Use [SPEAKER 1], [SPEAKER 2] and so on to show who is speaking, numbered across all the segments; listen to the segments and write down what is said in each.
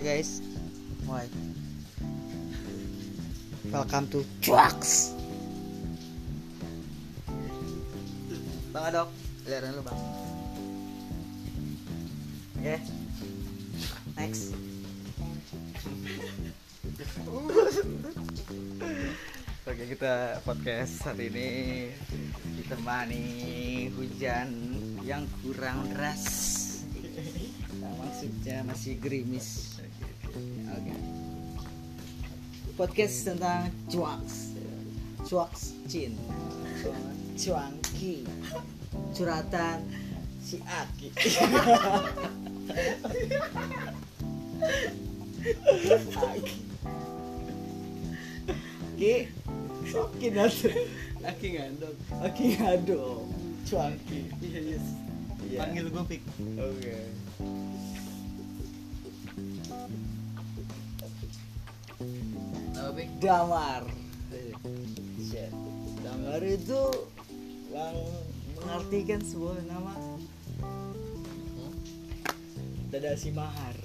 [SPEAKER 1] guys Why? Welcome to Cuaks Bang Adok Liaran lu bang Oke Next Oke kita podcast saat ini ditemani hujan yang kurang deras Nah, maksudnya masih gerimis Oke Podcast tentang cuaks Cuaks Cin Cuangki Curhatan Si Aki Aki Aki ngaduk Aki ngaduk Aki ngaduk Cuangki Iya, Yes
[SPEAKER 2] Panggil gue Pik.
[SPEAKER 1] Oke.
[SPEAKER 2] Apa Pik?
[SPEAKER 1] Damar. Shit. Damar itu yang mengartikan sebuah nama Dada si mahar.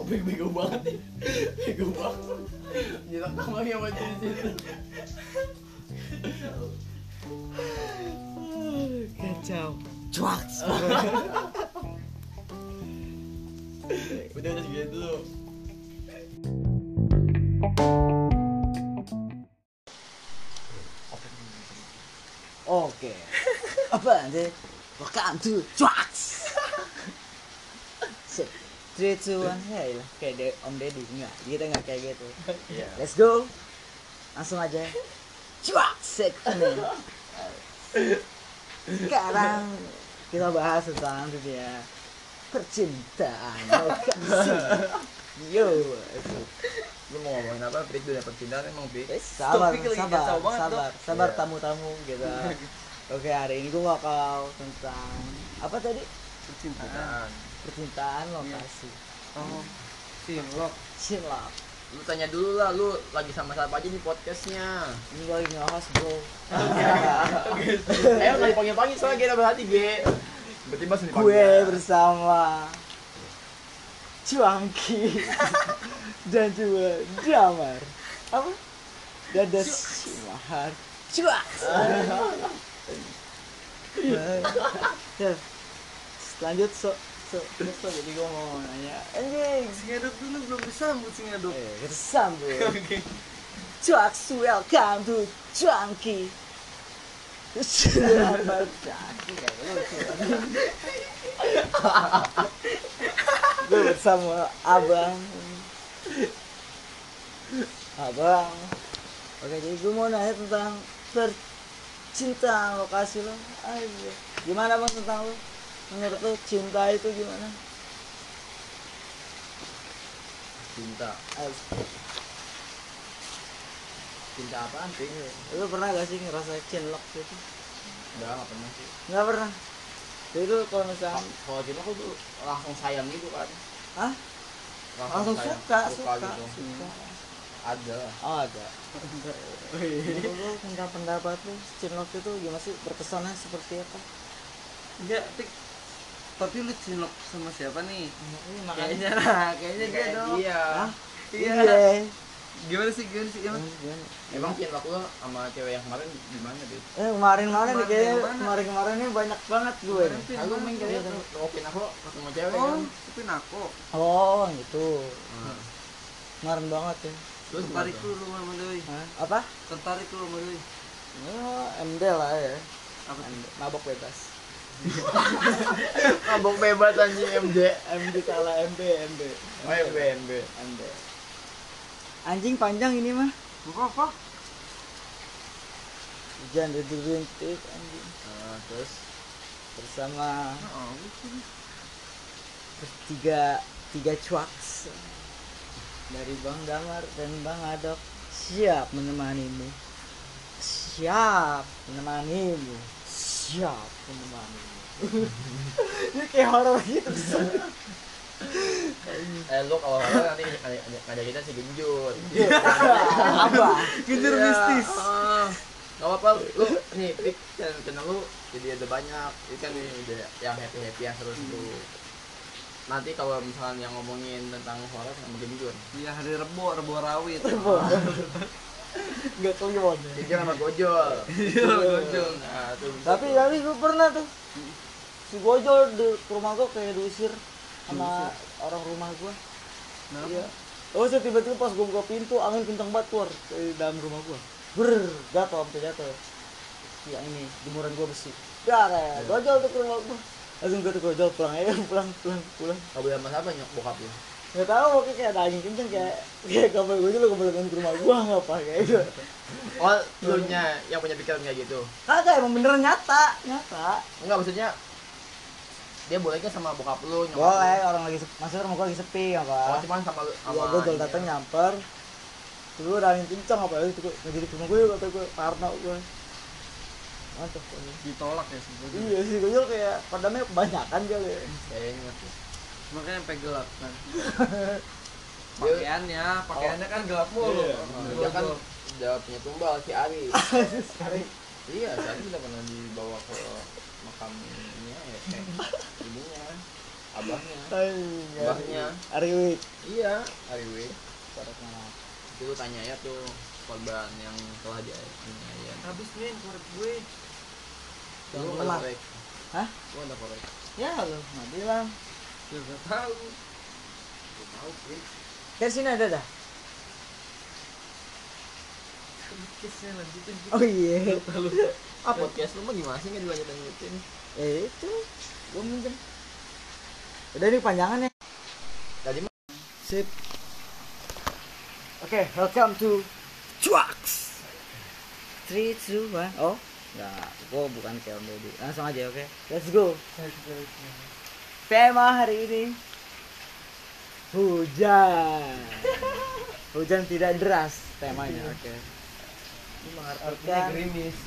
[SPEAKER 2] Oh Pik bego banget nih. Bego banget. Nyetak tangannya sama di situ.
[SPEAKER 1] Kacau. Cuak.
[SPEAKER 2] Udah udah segitu dulu.
[SPEAKER 1] Oke. Apa nanti? Welcome to cuak. Shit. Three, two, one, hey lah. Kayak De- Om Deddy enggak? Kita enggak kayak gitu.
[SPEAKER 2] Iya.
[SPEAKER 1] Let's go. Langsung aja. Cuak segmen. Sekarang kita bahas tentang dunia percintaan. Oke, sih. Yo.
[SPEAKER 2] Lu mau ngomongin apa Pik? Udah percintaan emang Pik.
[SPEAKER 1] Eh, Sabar,
[SPEAKER 2] Topik lagi
[SPEAKER 1] sabar,
[SPEAKER 2] kacau banget,
[SPEAKER 1] sabar,
[SPEAKER 2] Dok.
[SPEAKER 1] sabar
[SPEAKER 2] Iya.
[SPEAKER 1] tamu-tamu gitu. Oke, hari ini gua bakal tentang apa tadi?
[SPEAKER 2] Percintaan.
[SPEAKER 1] Percintaan lokasi.
[SPEAKER 2] Oh. Sinlok.
[SPEAKER 1] Cinlok.
[SPEAKER 2] Lu tanya dulu lah, lu lagi sama siapa aja di podcastnya?
[SPEAKER 1] Ini gua lagi nge-host, Bro.
[SPEAKER 2] Eh, lagi panggil-panggil soalnya kita berhati, Ge. Berarti mas dipanggil.
[SPEAKER 1] gue bersama Cuangki dan juga Damar apa Dada Simahar Cuak Ya, lanjut so so terus so, jadi gue mau nanya anjing
[SPEAKER 2] Singaduk dulu belum disambut Singaduk.
[SPEAKER 1] eh bersambung
[SPEAKER 2] Oke.
[SPEAKER 1] Cuaks welcome to Cuangki Selamat datang Gue bersama abang Abang Oke jadi gue mau nanya tentang percintaan lokasi lo Aduh. Gimana bang tentang lo? Menurut lo cinta itu gimana?
[SPEAKER 2] Cinta.
[SPEAKER 1] As-
[SPEAKER 2] Cinta apaan sih?
[SPEAKER 1] Lo pernah gak sih ngerasa cinlok gitu?
[SPEAKER 2] Enggak, enggak pernah sih.
[SPEAKER 1] Nggak pernah Jadi lo kalau misalnya
[SPEAKER 2] Kalau cinta aku tuh langsung sayang gitu kan.
[SPEAKER 1] Hah? langsung
[SPEAKER 2] sayang,
[SPEAKER 1] suka suka
[SPEAKER 2] gitu.
[SPEAKER 1] suka
[SPEAKER 2] Ada.
[SPEAKER 1] oh ada Menurut lu tentang Iya. pendapat lu cinlok itu gimana sih berkesannya seperti apa
[SPEAKER 3] Enggak, Pik. Tapi lu cinlok sama siapa nih?
[SPEAKER 1] ini
[SPEAKER 3] Kayaknya lah, kayaknya dia
[SPEAKER 2] Kayak
[SPEAKER 3] dong.
[SPEAKER 2] Iya.
[SPEAKER 1] Hah?
[SPEAKER 3] Iya.
[SPEAKER 1] iya
[SPEAKER 3] Gimana sih, gimana sih? Emang
[SPEAKER 1] Gimana?
[SPEAKER 2] Emang cinta aku sama cewek yang kemarin gimana deh?
[SPEAKER 1] eh kemarin kemarin nih
[SPEAKER 3] Kemarin
[SPEAKER 1] kayaknya
[SPEAKER 3] yang mana?
[SPEAKER 1] kemarin kemarin ini banyak banget gue
[SPEAKER 3] Kemarin tuh yang
[SPEAKER 2] Aku
[SPEAKER 3] mana?
[SPEAKER 2] main
[SPEAKER 1] kayaknya
[SPEAKER 2] kayaknya ngokin aku ketemu cewek
[SPEAKER 3] Oh,
[SPEAKER 2] kan.
[SPEAKER 3] tapi nako.
[SPEAKER 1] oh gitu
[SPEAKER 2] Nah,
[SPEAKER 1] kemarin banget ya
[SPEAKER 2] Terus
[SPEAKER 3] Tertarik
[SPEAKER 2] gimana
[SPEAKER 3] lu
[SPEAKER 2] tuh?
[SPEAKER 3] lu sama Doi.
[SPEAKER 1] Hah? apa
[SPEAKER 3] Tertarik lu sama Doi.
[SPEAKER 1] oh, MD lah ya
[SPEAKER 3] Apa tuh?
[SPEAKER 1] MD. mabok bebas
[SPEAKER 2] Abang bebas anjing MD.
[SPEAKER 1] MD kalah MB MB
[SPEAKER 2] Oh, MB MB.
[SPEAKER 1] MB anjing panjang ini mah
[SPEAKER 3] Apa apa?
[SPEAKER 1] hujan rintik anjing
[SPEAKER 2] Nah, terus
[SPEAKER 1] bersama
[SPEAKER 3] Oh, gitu.
[SPEAKER 1] tiga tiga cuaks dari Bang Damar dan Bang Adok siap menemanimu siap menemanimu siap menemanimu ini kayak horor gitu
[SPEAKER 2] eh lu kalau nggak salah nanti ngaj- ngaj- ngajak kita si genjut.
[SPEAKER 1] apa
[SPEAKER 3] Genjer
[SPEAKER 2] Iya,
[SPEAKER 3] mistis.
[SPEAKER 2] ah. Gak apa-apa lu nih pik kan channel channel lu jadi ada banyak ikan nih udah yang happy happy yang seru seru. nanti kalau misalnya yang ngomongin tentang horor sama Gendun
[SPEAKER 3] Iya hari Rebo, Rebo Rawit. Ah,
[SPEAKER 1] nggak kliwon ya.
[SPEAKER 2] Jadi sama Gojol
[SPEAKER 3] Iya, gojol.
[SPEAKER 2] nah, tuh bisa
[SPEAKER 1] tapi
[SPEAKER 2] tuh.
[SPEAKER 1] tapi gue pernah tuh si gojol di ke rumah gue kayak diusir sama orang rumah gue iya oh saya tiba-tiba pas gue buka pintu angin kencang banget keluar dari dalam rumah gue ber jatuh sampai jatuh iya ini jemuran gue besi darah gojol tuh ke rumah gue langsung gue tuh gojol pulang ya pulang pulang pulang
[SPEAKER 2] kabel sama siapa nyok bokap lu
[SPEAKER 1] nggak tahu pokoknya kayak ada angin kencang kayak kayak kabel gojol lo kebelet ke rumah gue nggak apa kayak gitu
[SPEAKER 2] oh lu nya yang punya pikiran kayak gitu
[SPEAKER 1] kagak emang beneran nyata nyata
[SPEAKER 2] enggak maksudnya dia boleh kan sama bokap lu nyokap
[SPEAKER 1] boleh
[SPEAKER 2] lu?
[SPEAKER 1] orang lagi sep- maksudnya rumah gue lagi sepi apa
[SPEAKER 2] oh cuman sama lu sama
[SPEAKER 1] Iya, gue gol
[SPEAKER 2] ini
[SPEAKER 1] datang
[SPEAKER 2] ya.
[SPEAKER 1] nyamper. Dulu udah angin kencang apa itu gue jadi ke rumah gue kata gue parno gue. Mantap pokoknya.
[SPEAKER 3] Ditolak ya sebenarnya.
[SPEAKER 1] Iya sih gue kayak padamnya kebanyakan kali. ya.
[SPEAKER 2] kayaknya ngerti
[SPEAKER 3] Makanya sampai gelap kan.
[SPEAKER 2] Dia-
[SPEAKER 3] Pakaiannya, pakaiannya kan gelap mulu.
[SPEAKER 1] Iya,
[SPEAKER 2] dia kan
[SPEAKER 3] Gojol.
[SPEAKER 2] udah punya tumbal si Ari iya si Ari udah pernah dibawa ke makamnya ya eh, ibunya abahnya
[SPEAKER 1] Ay,
[SPEAKER 2] abahnya
[SPEAKER 1] Ariwit.
[SPEAKER 2] iya Ari W itu lu tanya ya tuh korban yang telah dia ya
[SPEAKER 3] Habis men korek gue.
[SPEAKER 2] lu nggak
[SPEAKER 1] Telat.
[SPEAKER 2] korek
[SPEAKER 1] Hah?
[SPEAKER 2] lu nggak korek
[SPEAKER 1] Ya lu nggak bilang.
[SPEAKER 3] Ya gak tahu.
[SPEAKER 2] Nggak tahu sih
[SPEAKER 1] Dari sini ada dah.
[SPEAKER 3] Kikisnya lanjutin.
[SPEAKER 1] Oh iya.
[SPEAKER 3] Lalu
[SPEAKER 2] ah podcast lu mah gimana sih nggak dilanjutin lanjutin
[SPEAKER 1] eh itu gue minjem. Udah ini panjangan ya.
[SPEAKER 2] tadi mah
[SPEAKER 1] Sip. Oke, welcome to Cuaks. 3, 2, 1. Oh, enggak. Gue bukan kayak Om Deddy. Langsung aja, oke? Let's go. Tema hari ini hujan. hujan tidak deras temanya, oke.
[SPEAKER 2] lu
[SPEAKER 1] Artinya
[SPEAKER 2] gerimis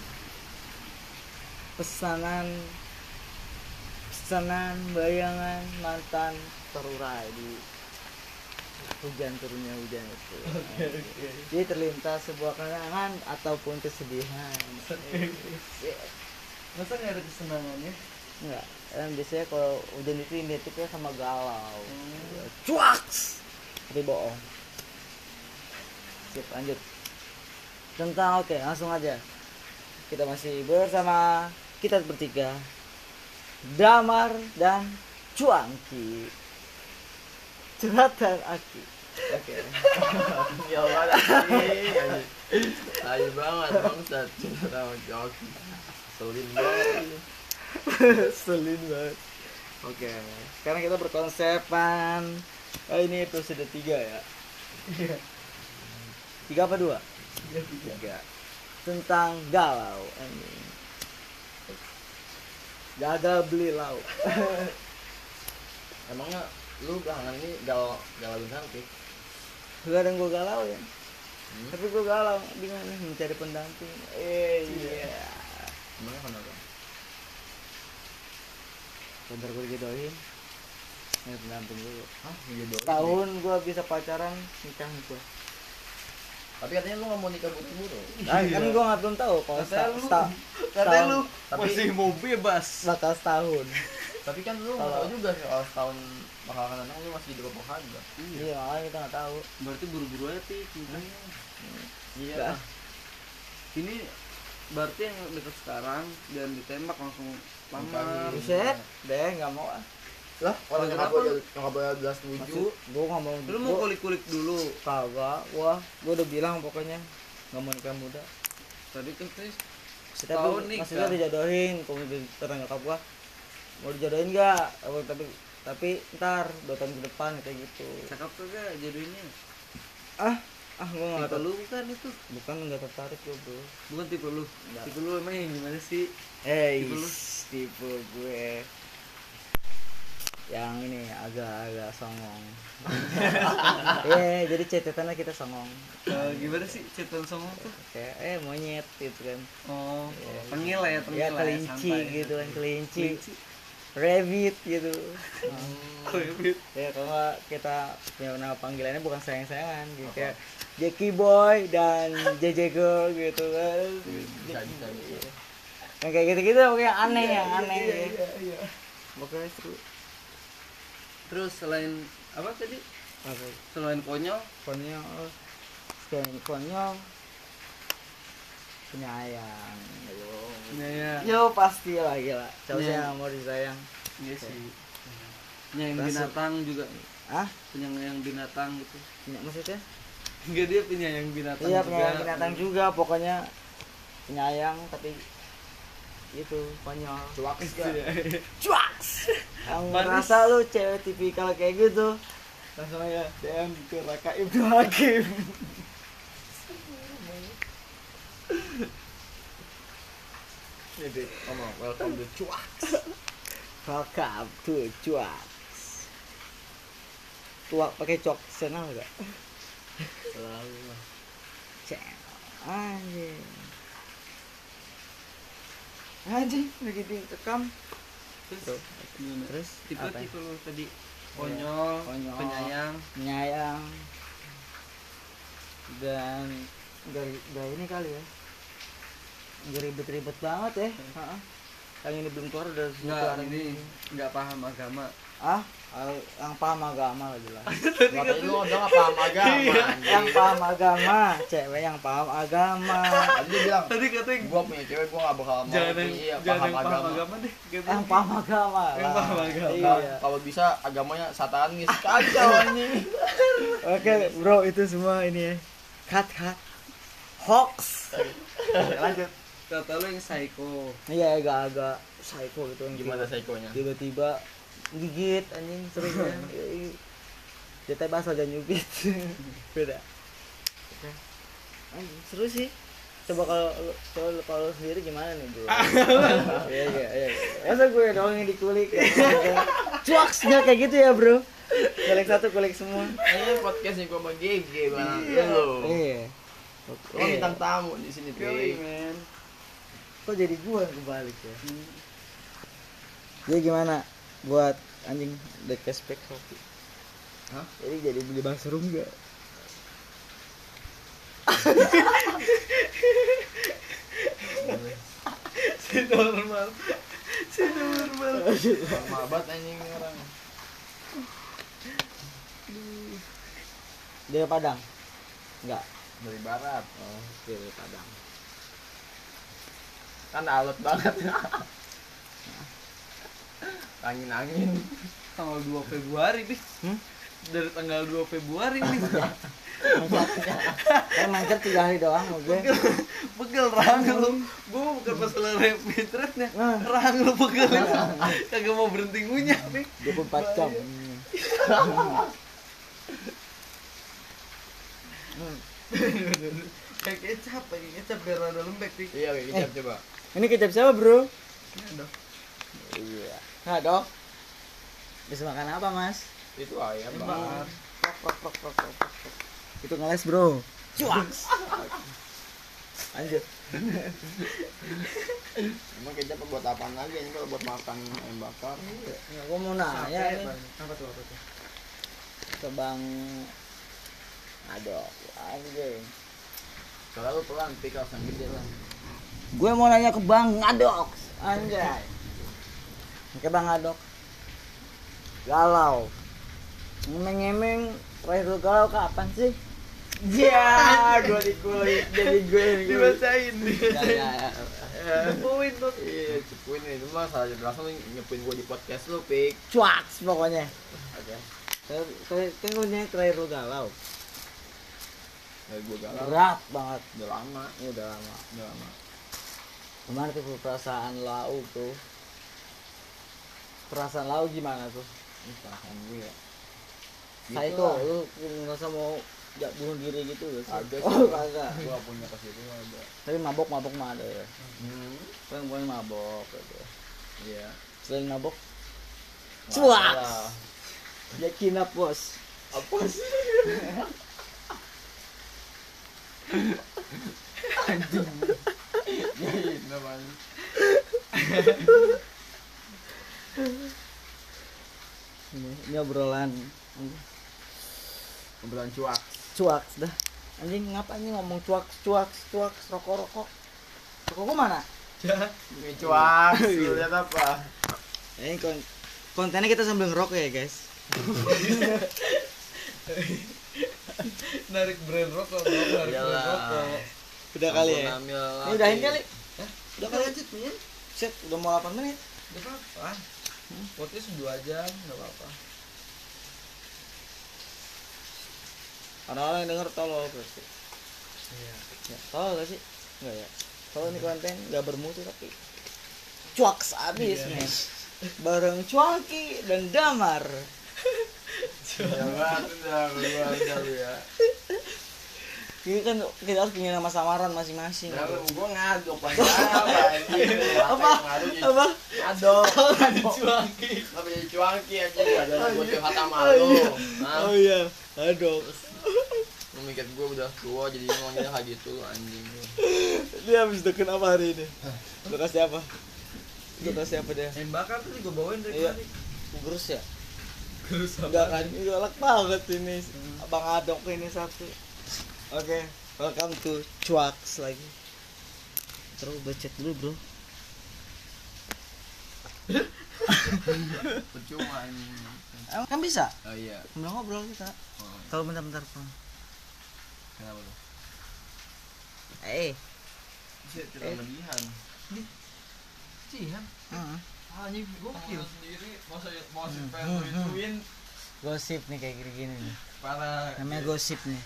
[SPEAKER 1] Pesanan pesanan bayangan mantan terurai di hujan turunnya hujan itu. Jadi terlintas sebuah kenangan ataupun kesedihan.
[SPEAKER 3] masa gak ada kesenangannya?
[SPEAKER 1] Enggak, kan biasanya kalau hujan itu identiknya sama galau. Cuaks! Tapi bohong. Sip, lanjut. Tentang, oke, langsung aja. Kita masih bersama kita bertiga. Damar dan Cuangki. Curhatan Aki.
[SPEAKER 2] Oke. ya Allah, anjing. anjing. Tai banget bangsat. Sama joki. Selin banget.
[SPEAKER 1] Selin banget. Oke, sekarang kita berkonsepan. Oh, ini episode 3 ya. Tiga apa dua? Tiga. Tentang galau. anjing. Gagal beli lauk.
[SPEAKER 2] Emangnya lu belakangan ini galau galauin cantik?
[SPEAKER 1] Kadang gue galau ya.
[SPEAKER 2] Hmm?
[SPEAKER 1] Tapi gue galau, bingung nih mencari pendamping. Eh, iya.
[SPEAKER 2] Emangnya kenapa?
[SPEAKER 1] Bentar gue jodohin. Ini pendamping dulu.
[SPEAKER 2] Hah, Iya, jodohin.
[SPEAKER 1] Tahun gue bisa pacaran, nikah gue.
[SPEAKER 2] Tapi katanya lu nggak mau nikah buru-buru.
[SPEAKER 1] Nah, kan gue nggak belum tahu kalau
[SPEAKER 3] Katanya
[SPEAKER 1] sta-
[SPEAKER 3] Iya. lu-
[SPEAKER 1] sta-
[SPEAKER 3] Katanya
[SPEAKER 1] setahun-
[SPEAKER 3] lu
[SPEAKER 2] Tapi-
[SPEAKER 3] masih mau bebas.
[SPEAKER 1] bakal setahun
[SPEAKER 2] Tapi kan lu nggak tahu juga soal setahun bakal akan datang lu masih hidup apa kagak.
[SPEAKER 1] iya makanya kita nggak tahu
[SPEAKER 3] Berarti buru-buru aja sih cintanya.
[SPEAKER 2] Iya.
[SPEAKER 1] Nggak.
[SPEAKER 3] Ini berarti yang deket sekarang dan ditembak langsung lamar.
[SPEAKER 2] Bukan.
[SPEAKER 1] Nah, buset deh nggak mau ah
[SPEAKER 2] Lah, orang
[SPEAKER 3] Lu
[SPEAKER 2] nyokap
[SPEAKER 3] kenapa
[SPEAKER 2] gua nyokap gua jelas setuju.
[SPEAKER 1] maksud gue nggak mau
[SPEAKER 3] Lu mau
[SPEAKER 1] gua-
[SPEAKER 3] kulik-kulik dulu.
[SPEAKER 1] kagak wah gue udah bilang pokoknya nggak mau nikah muda
[SPEAKER 3] Tadi kan Chris
[SPEAKER 1] Tapi
[SPEAKER 3] setahun nih.
[SPEAKER 1] maksudnya dijodohin kemudian tanya nyokap gua mau dijodohin nggak Eh, tapi tapi ntar dua tahun ke depan kayak gitu
[SPEAKER 3] Cakap kagak jodohnya?
[SPEAKER 1] ah ah gue nggak
[SPEAKER 3] Tipe
[SPEAKER 1] tahu
[SPEAKER 3] lu bukan itu.
[SPEAKER 1] bukan nggak tertarik gue bro
[SPEAKER 3] Bukan tipe lu.
[SPEAKER 1] Nggak.
[SPEAKER 3] Tipe lu emang yang gimana sih?
[SPEAKER 1] eh
[SPEAKER 3] Tipe lu?
[SPEAKER 1] tipe gue yang ini agak-agak songong eh jadi cetetannya kita songong
[SPEAKER 3] Eh, gimana sih cetan songong tuh?
[SPEAKER 1] kayak eh monyet gitu kan
[SPEAKER 3] Oh, tengil lah ya, tengil
[SPEAKER 1] ya
[SPEAKER 3] lah ya,
[SPEAKER 1] kelinci
[SPEAKER 3] santai.
[SPEAKER 1] gitu kan kelinci
[SPEAKER 3] Kelinci.
[SPEAKER 1] rabbit gitu
[SPEAKER 3] Rabbit.
[SPEAKER 1] ya kalau nggak kita punya nama panggilannya bukan sayang-sayangan gitu kayak Jackie Boy dan JJ Girl gitu kan
[SPEAKER 3] Iya,
[SPEAKER 2] Bisa bisa. bisa.
[SPEAKER 1] yang ya. kayak gitu-gitu pokoknya aneh ya aneh
[SPEAKER 3] Iya, iya, iya.
[SPEAKER 1] pokoknya seru
[SPEAKER 3] terus selain apa tadi
[SPEAKER 1] Apa?
[SPEAKER 3] selain konyol
[SPEAKER 1] konyol selain konyol penyayang gitu.
[SPEAKER 3] nyayang
[SPEAKER 1] yo pasti lah gila cowoknya
[SPEAKER 3] Iya.
[SPEAKER 1] yang mau disayang
[SPEAKER 3] iya sih nyayang
[SPEAKER 1] Rasa-
[SPEAKER 3] binatang juga
[SPEAKER 1] ah
[SPEAKER 3] penyayang binatang gitu
[SPEAKER 1] Penya- maksudnya
[SPEAKER 3] enggak dia penyayang binatang
[SPEAKER 1] iya
[SPEAKER 3] juga.
[SPEAKER 1] penyayang binatang juga pokoknya penyayang tapi itu konyol
[SPEAKER 2] cuaks
[SPEAKER 3] Iya,
[SPEAKER 2] kan
[SPEAKER 3] iya.
[SPEAKER 1] cuaks yang
[SPEAKER 3] Manis.
[SPEAKER 1] merasa lu cewek tipikal kayak gitu langsung aja DM ke Raka Ibnu Hakim
[SPEAKER 2] ya deh ngomong welcome to cuaks
[SPEAKER 1] Welcome to cuaks tuak pakai cok senang gak?
[SPEAKER 2] selalu lah
[SPEAKER 1] channel anjing anjing begitu rekam
[SPEAKER 3] terus gimana?
[SPEAKER 1] terus
[SPEAKER 3] tipe
[SPEAKER 1] apa Iya, ya?
[SPEAKER 3] tipe lu tadi konyol,
[SPEAKER 1] Konyol.
[SPEAKER 3] penyayang
[SPEAKER 1] menyayang dan dari dari ini kali ya Nggak ribet-ribet banget ya Heeh. yang ini belum keluar udah sudah
[SPEAKER 3] enggak
[SPEAKER 1] keluar
[SPEAKER 3] ini enggak paham agama
[SPEAKER 1] ah al- yang paham agama lah jelas
[SPEAKER 2] makanya lu udah nggak paham agama
[SPEAKER 1] yang
[SPEAKER 3] Iya.
[SPEAKER 1] paham agama cewek yang paham agama
[SPEAKER 2] tadi dia bilang
[SPEAKER 3] tadi katanya
[SPEAKER 2] gua punya cewek gua nggak bakal mau
[SPEAKER 3] jangan yang,
[SPEAKER 2] iya,
[SPEAKER 3] jangan
[SPEAKER 2] paham
[SPEAKER 3] yang paham
[SPEAKER 2] agama
[SPEAKER 3] agama deh gitu. katanya.
[SPEAKER 1] yang Ah, paham agama
[SPEAKER 3] Yang
[SPEAKER 1] lah.
[SPEAKER 3] paham agama.
[SPEAKER 1] iya.
[SPEAKER 2] Nah, kalau bisa agamanya satanis kacau anjing
[SPEAKER 1] Oke bro itu semua ini ya Cut cut Hoax Lanjut
[SPEAKER 3] Iya, kata lu yang psycho
[SPEAKER 1] Iya agak-agak psycho gitu yang
[SPEAKER 2] gimana
[SPEAKER 1] tiba-
[SPEAKER 2] seikonya
[SPEAKER 1] Tiba-tiba gigit anjing sering ya Jatah basah jangan nyubit Beda Anjing, Seru sih Coba kalau lu- coba lu- kalau lu sendiri gimana nih bro? Iya iya iya. Masa gue doang yang dikulik. Cuaks nggak kayak gitu ya bro? Kulik satu kulik semua.
[SPEAKER 2] ini podcastnya gua sama GG bang
[SPEAKER 3] Iya.
[SPEAKER 2] lu
[SPEAKER 1] Iya.
[SPEAKER 2] lu bintang tamu di sini
[SPEAKER 3] Yoi,
[SPEAKER 2] Pi.
[SPEAKER 3] men
[SPEAKER 1] kok jadi gua yang kebalik ya jadi gimana buat anjing the cashback kopi
[SPEAKER 2] Hah?
[SPEAKER 1] jadi jadi beli mushroom gak
[SPEAKER 3] si normal si normal
[SPEAKER 2] Lama banget anjing ini orang
[SPEAKER 1] dari Padang enggak
[SPEAKER 2] dari barat
[SPEAKER 1] oh dari Padang
[SPEAKER 2] kan alot banget angin angin
[SPEAKER 3] tanggal 2 Februari nih
[SPEAKER 1] Hmm?
[SPEAKER 3] dari tanggal 2 Februari nih
[SPEAKER 1] kan mangkat tiga hari doang sama gue
[SPEAKER 3] pegel pegel rahang lu gue bukan masalah repitretnya
[SPEAKER 1] Nah.
[SPEAKER 3] rahang lu pegel kagak mau berhenti ngunyah nih
[SPEAKER 1] 24 jam Hmm.
[SPEAKER 3] kayak kecap kayak kecap biar ada lembek nih
[SPEAKER 2] iya kayak
[SPEAKER 3] Eh.
[SPEAKER 2] kecap coba
[SPEAKER 1] ini kecap siapa bro
[SPEAKER 3] Ini ada.
[SPEAKER 1] iya nah dok bisa makan apa mas
[SPEAKER 2] itu ayam
[SPEAKER 3] Bar.
[SPEAKER 2] banget
[SPEAKER 1] Prok, prok, prok, prok, prok, prok, prok. itu ngeles bro cuaks lanjut
[SPEAKER 2] emang kecap buat apaan lagi ini kalau buat makan ayam bakar
[SPEAKER 1] Nggak, gue Nah, mau nanya
[SPEAKER 3] Capek
[SPEAKER 1] nih
[SPEAKER 3] banget. apa tuh apa tuh
[SPEAKER 1] ke bang aduh anjing
[SPEAKER 2] soalnya lu pelan pikal sang gede lah
[SPEAKER 1] gue mau nanya ke bang ngadok anjay ke bang ngadok galau ngemeng-ngemeng terakhir lu galau kapan sih ya gue dikulik jadi gue yang dikulik.
[SPEAKER 3] dibacain
[SPEAKER 1] Ya, ya, ya.
[SPEAKER 3] poin tuh
[SPEAKER 2] iya cepuin ini mah salah jelasan lu nyepuin gua di podcast lu pik
[SPEAKER 1] cuaks pokoknya
[SPEAKER 2] oke
[SPEAKER 1] Terakhir- terakhir- kan gue nanya terakhir lu galau
[SPEAKER 2] dari Ya, gua galau
[SPEAKER 1] berat banget
[SPEAKER 2] udah lama
[SPEAKER 1] ini udah lama
[SPEAKER 2] udah lama
[SPEAKER 1] Gimana tuh perasaan lau tuh? Perasaan lau gimana tuh?
[SPEAKER 2] ini perasaan gue ya Gitu
[SPEAKER 1] Psycho, lu ngerasa mau ya, bunuh diri gitu gak sih?
[SPEAKER 2] Agak sih.
[SPEAKER 1] oh, kagak.
[SPEAKER 2] gue punya kesituan ada
[SPEAKER 1] Tapi mabok-mabok mah ada ya.
[SPEAKER 2] hmm
[SPEAKER 1] Paling paling mabok gitu.
[SPEAKER 2] iya
[SPEAKER 1] Selain mabok,
[SPEAKER 2] Wah,
[SPEAKER 1] Cuaks.
[SPEAKER 2] salah.
[SPEAKER 1] ya kinap bos.
[SPEAKER 2] apa sih anjing jadi namanya
[SPEAKER 1] Ini, ini obrolan
[SPEAKER 2] obrolan cuak
[SPEAKER 1] cuaks dah. Anjing ngapa anjing ngomong cuaks, cuaks, cuaks, rokok-rokok. Rokok gua mana?
[SPEAKER 2] ini
[SPEAKER 1] Iya.
[SPEAKER 2] cuak lihat apa
[SPEAKER 1] Ini kon kontennya kita sambil ngerokok ya guys.
[SPEAKER 4] narik brand rokok bro, narik brand
[SPEAKER 2] Iyalah.
[SPEAKER 4] rokok
[SPEAKER 1] Udah kali ya.
[SPEAKER 2] Ambil
[SPEAKER 1] Ini udahin kali. Udah
[SPEAKER 4] udah
[SPEAKER 1] kali.
[SPEAKER 4] lanjut nih
[SPEAKER 1] Set, udah mau 8 menit.
[SPEAKER 4] Gak apa-apa Podcast dua jam, gak apa-apa
[SPEAKER 1] Orang-orang yang denger tolol pasti.
[SPEAKER 4] Iya
[SPEAKER 1] Ya, tolol gak sih? Enggak ya. Kalau ini konten gak bermutu tapi cuaks abis
[SPEAKER 4] Iya.
[SPEAKER 1] men. Bareng cuaki dan damar.
[SPEAKER 2] Jangan, udah, keluar udah lu ya.
[SPEAKER 1] Ini kan kita harus punya nama samaran masing-masing.
[SPEAKER 2] Kenapa gua ngaduk banget apa anjing?
[SPEAKER 1] Apa? Apa?
[SPEAKER 2] Ngaduk.
[SPEAKER 4] Cuaki
[SPEAKER 2] Kenapa jadi cuanki anjing? Padahal gua curhat sama
[SPEAKER 1] iya.
[SPEAKER 2] lu. Hah?
[SPEAKER 1] Oh iya, aduh.
[SPEAKER 2] Lu mikir gua udah tua jadi ngomongnya kayak gitu anjing.
[SPEAKER 1] Dia habis deken apa hari ini? Udah kasih apa? Udah kasih apa dia?
[SPEAKER 4] Yang bakar tuh gue bawain dari
[SPEAKER 1] Iya.
[SPEAKER 4] tadi
[SPEAKER 1] Gerus ya?
[SPEAKER 4] Terus
[SPEAKER 1] Enggak kan? Ini galak banget ini. Bang Adok ini satu. Oke, welcome to Cuaks lagi. Terus becet dulu, Bro.
[SPEAKER 2] Percuma anjing.
[SPEAKER 1] Emang kan bisa?
[SPEAKER 2] Oh iya.
[SPEAKER 1] Belum ngobrol kita.
[SPEAKER 2] Oh,
[SPEAKER 1] Kalau bentar-bentar pulang.
[SPEAKER 2] Kenapa lu?
[SPEAKER 1] Eh,
[SPEAKER 2] Bisa berlebihan.
[SPEAKER 4] Cihan
[SPEAKER 1] mm,
[SPEAKER 4] Anjing gokil
[SPEAKER 2] sendiri masa mau si
[SPEAKER 1] hmm, hmm. Gosip nih kayak gini-gini nih.
[SPEAKER 2] para
[SPEAKER 1] Namanya gosip nih.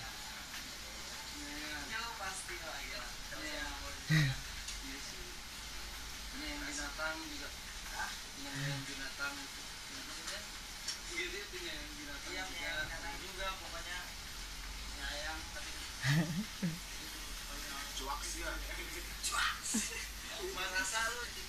[SPEAKER 1] gitu.
[SPEAKER 2] Cuaks.
[SPEAKER 1] gitu.